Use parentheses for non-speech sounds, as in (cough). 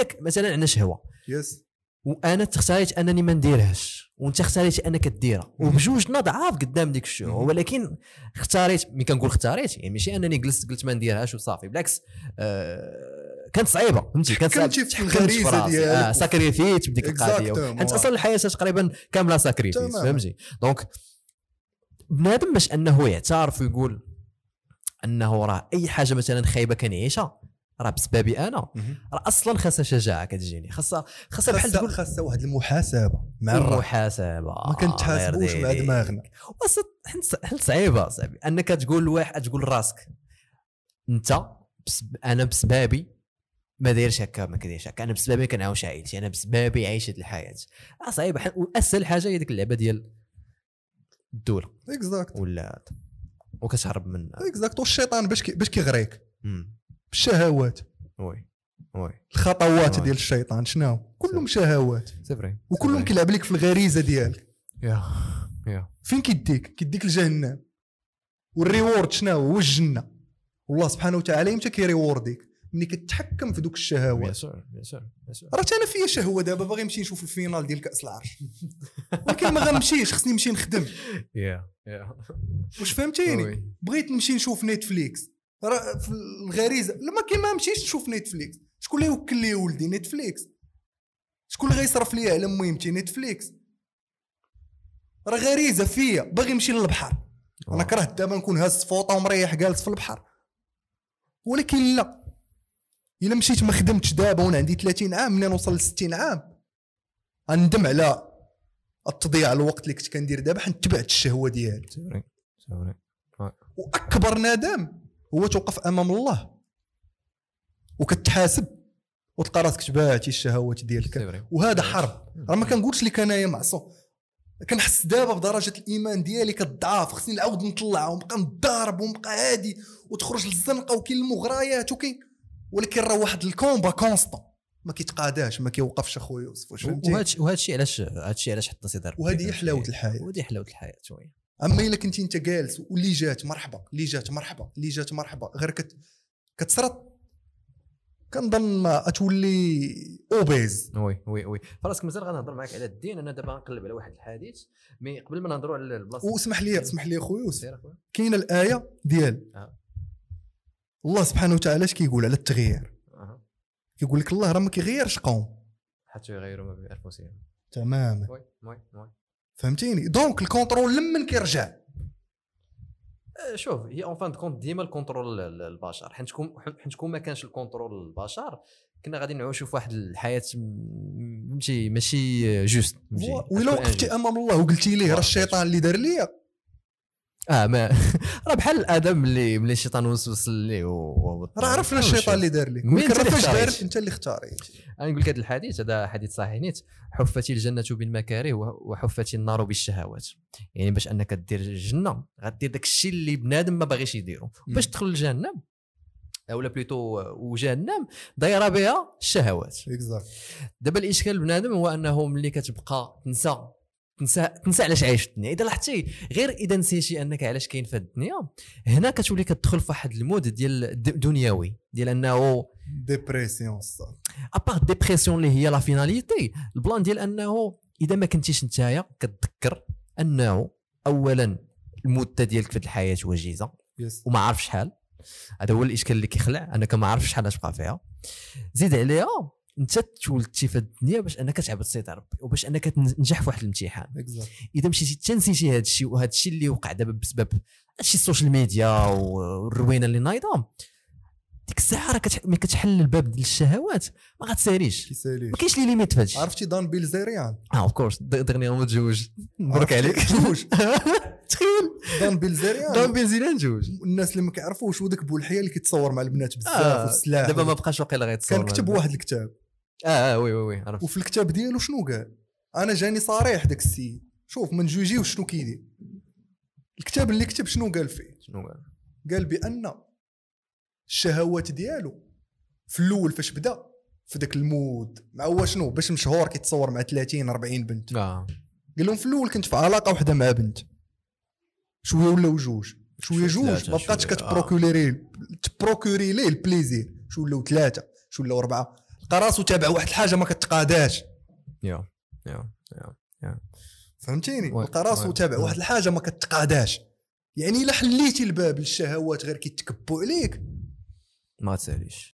لك مثلا عندنا شهوه يس وانا تختاريت انني ما نديرهاش وانت اختاريت انك ديرها وبجوجنا ضعاف قدام ديك الشهوه مم. ولكن اختاريت ملي كنقول اختاريت يعني ماشي انني جلست قلت ما نديرهاش وصافي بالعكس آه كانت صعيبه فهمتي كانت صعيبه تحكمتي في تحكمت الغريزة راسي. ديالك. آه ساكريفيت بديك القضيه Exactement. حيت اصلا الحياه تقريبا كامله ساكريفيت تماماً. فهمتي دونك بنادم باش انه يعترف ويقول انه راه اي حاجه مثلا خايبه كنعيشها راه بسببي انا راه اصلا خاصها شجاعه كتجيني خاصها خاصها بحال خاصة تقول إيه، آه، خاصة واحد المحاسبة مع الرأي المحاسبه ما كنتحاسبوش مع دماغنا حيت صعيبه صاحبي انك تقول لواحد تقول لراسك انت بسب... انا بسبابي ما دايرش هكا ما كدايرش هكا انا بسبابي كنعاوش عائلتي انا بسبابي عايشه الحياه آه، صعيبه ح- واسهل حاجه هي ديك اللعبه ديال الدوله اكزاكت ولا وكتهرب من اكزاكت والشيطان باش كي- باش كيغريك مم. بالشهوات وي وي الخطوات آه. ديال الشيطان شنو كلهم شهوات سي فري وكلهم كيلعب لك في الغريزه ديالك يا يا فين كيديك كيديك لجهنم والريورد شنو هو الجنه والله سبحانه وتعالى يمتى كيريورديك ملي كتحكم في دوك بيان الشهوات سور بيان سور بيان سور راه حتى انا فيا شهوه دابا باغي نمشي نشوف الفينال ديال (laughs) كاس العرش ولكن ما غنمشيش خصني نمشي نخدم يا يا واش فهمتيني وي. بغيت نمشي نشوف نيتفليكس راه في الغريزه لما كي ما مشيش نشوف نيتفليكس شكون اللي يوكل لي ولدي نيتفليكس شكون اللي غيصرف لي على مهمتي نيتفليكس راه غريزه فيا باغي نمشي للبحر انا كرهت دابا نكون هاز فوطه ومريح جالس في البحر ولكن لا الا مشيت ما خدمتش دابا وانا عندي 30 عام منين نوصل ل 60 عام غندم على التضييع الوقت اللي كنت كندير دابا حيت تبعت الشهوه ديالي سي فري سي فري واكبر ندم هو توقف امام الله وكتحاسب وتلقى راسك تباتي الشهوات ديالك سي فري وهذا حرب راه ما كنقولش لك انايا معصوم كنحس دابا بدرجه الايمان ديالي كتضعف خصني نعاود نطلع ونبقى نضارب ونبقى هادي وتخرج للزنقه وكاين المغريات وكاين ولكن راه واحد الكومبا كونستون ما كيتقاداش ما كيوقفش اخويا يوسف واش وهذا فهمتي الشيء وهذا الشيء علاش هذا الشيء علاش حتى سيدي ربي وهذه هي فهمتي؟ حلاوه الحياه وهذه حلاوه الحياه شويه اما الا كنتي انت جالس واللي جات مرحبا اللي جات مرحبا اللي جات مرحبا غير كت كتسرط كنظن ما تولي اوبيز وي وي وي فراسك مازال غنهضر معك على الدين انا دابا غنقلب على واحد الحديث مي قبل ما نهضروا على البلاصه واسمح لي اسمح لي اخويا يوسف سير أخويا. كاينه الايه ديال آه. الله سبحانه وتعالى اش كيقول على التغيير أها. كيقول لك الله راه ما كيغيرش قوم حتى يغيروا ما بين انفسهم تماما وي وي وي فهمتيني دونك الكونترول لمن كيرجع آه، شوف هي اون فان كونت ديما الكونترول ال- البشر حيت كون حيت كون ما كانش الكونترول البشر كنا غادي نعيشوا في واحد الحياه م- فهمتي ماشي جوست فهمتي؟ و- غتكون وإلا وقفتي unjust. امام الله وقلتي ليه آه. راه الشيطان اللي دار ليا اه ما (laughs) راه بحال ادم اللي ملي الشيطان وسوس ليه و- و- راه عرفنا ومشى. الشيطان اللي دار ليك مين ولكن أنت راه اللي فاش دار اختاريت؟ انت اللي اختاريت انا نقول لك هذا الحديث هذا حديث صحيح نيت حفت الجنه بالمكاره و- وحفت النار بالشهوات يعني باش انك دير الجنه غدير داك الشيء اللي بنادم ما باغيش يديرو مم. باش تدخل لجهنم اولا بليتو آه، وجهنم دايره بها الشهوات اكزاكت دابا الاشكال بنادم هو انه ملي كتبقى تنسى تنسى تنسى علاش عايش في الدنيا اذا لاحظتي غير اذا نسيتي انك علاش كاين في هاد الدنيا هنا كتولي كتدخل في واحد المود ديال الد- دنيوي ديال انه ديبرسيون الصاد ابار ديبرسيون اللي هي لا فيناليتي البلان ديال انه اذا ما كنتيش نتايا كتذكر انه اولا المده ديالك في هاد الحياه وجيزه يس وما عارف شحال هذا هو الاشكال اللي كيخلع انك ما عارف شحال غتبقى فيها زيد عليها انت تولدتي في الدنيا باش انك تعبد سيد ربي وباش انك تنجح في واحد الامتحان اكزاكت اذا مشيتي تنسيتي هذا الشيء وهذا الشيء اللي وقع دابا بسبب هادشي السوشيال ميديا والروينه اللي نايضه ديك الساعه راه كتح- ملي كتحل الباب ديال الشهوات ما غتساليش كيسالي ما كاينش لي ليميت في هادشي عرفتي دان بيلزيريان اه اوف كورس دغنيا متزوج مبروك عرفتي؟ عليك جوج آه. (laughs) تخيل دان دون بيلزيريان بنزينا نتزوج الناس اللي ما كيعرفوش هو ذاك بولحيه اللي كيتصور مع البنات آه، بزاف والسلاح دابا ما بقاش واقيلا غيتصور كان كتب واحد الكتاب اه اه وي وي وي عرفت وفي الكتاب ديالو شنو قال انا جاني صريح داك السيد شوف ما نجوجيوش شنو كيدير الكتاب اللي كتب شنو قال فيه شنو قال قال بان الشهوات ديالو في الاول فاش بدا في ذاك المود مع هو شنو باش مشهور كيتصور مع 30 40 بنت اه قال لهم في الاول كنت في علاقه واحده مع بنت شويه ولاو جوج شويه شويه جوج ثلاثة، ما بقاتش شوية، آه. كتبروكوري تبروكوري ليه البليزير شو ولاو ثلاثه شو ولاو اربعه لقى راسو تابع واحد الحاجه ما كتقاداش يا يا يا فهمتيني وي- لقى راسو وي- تابع وي. واحد الحاجه ما كتقاداش يعني الا حليتي الباب للشهوات غير كيتكبوا عليك ما تساليش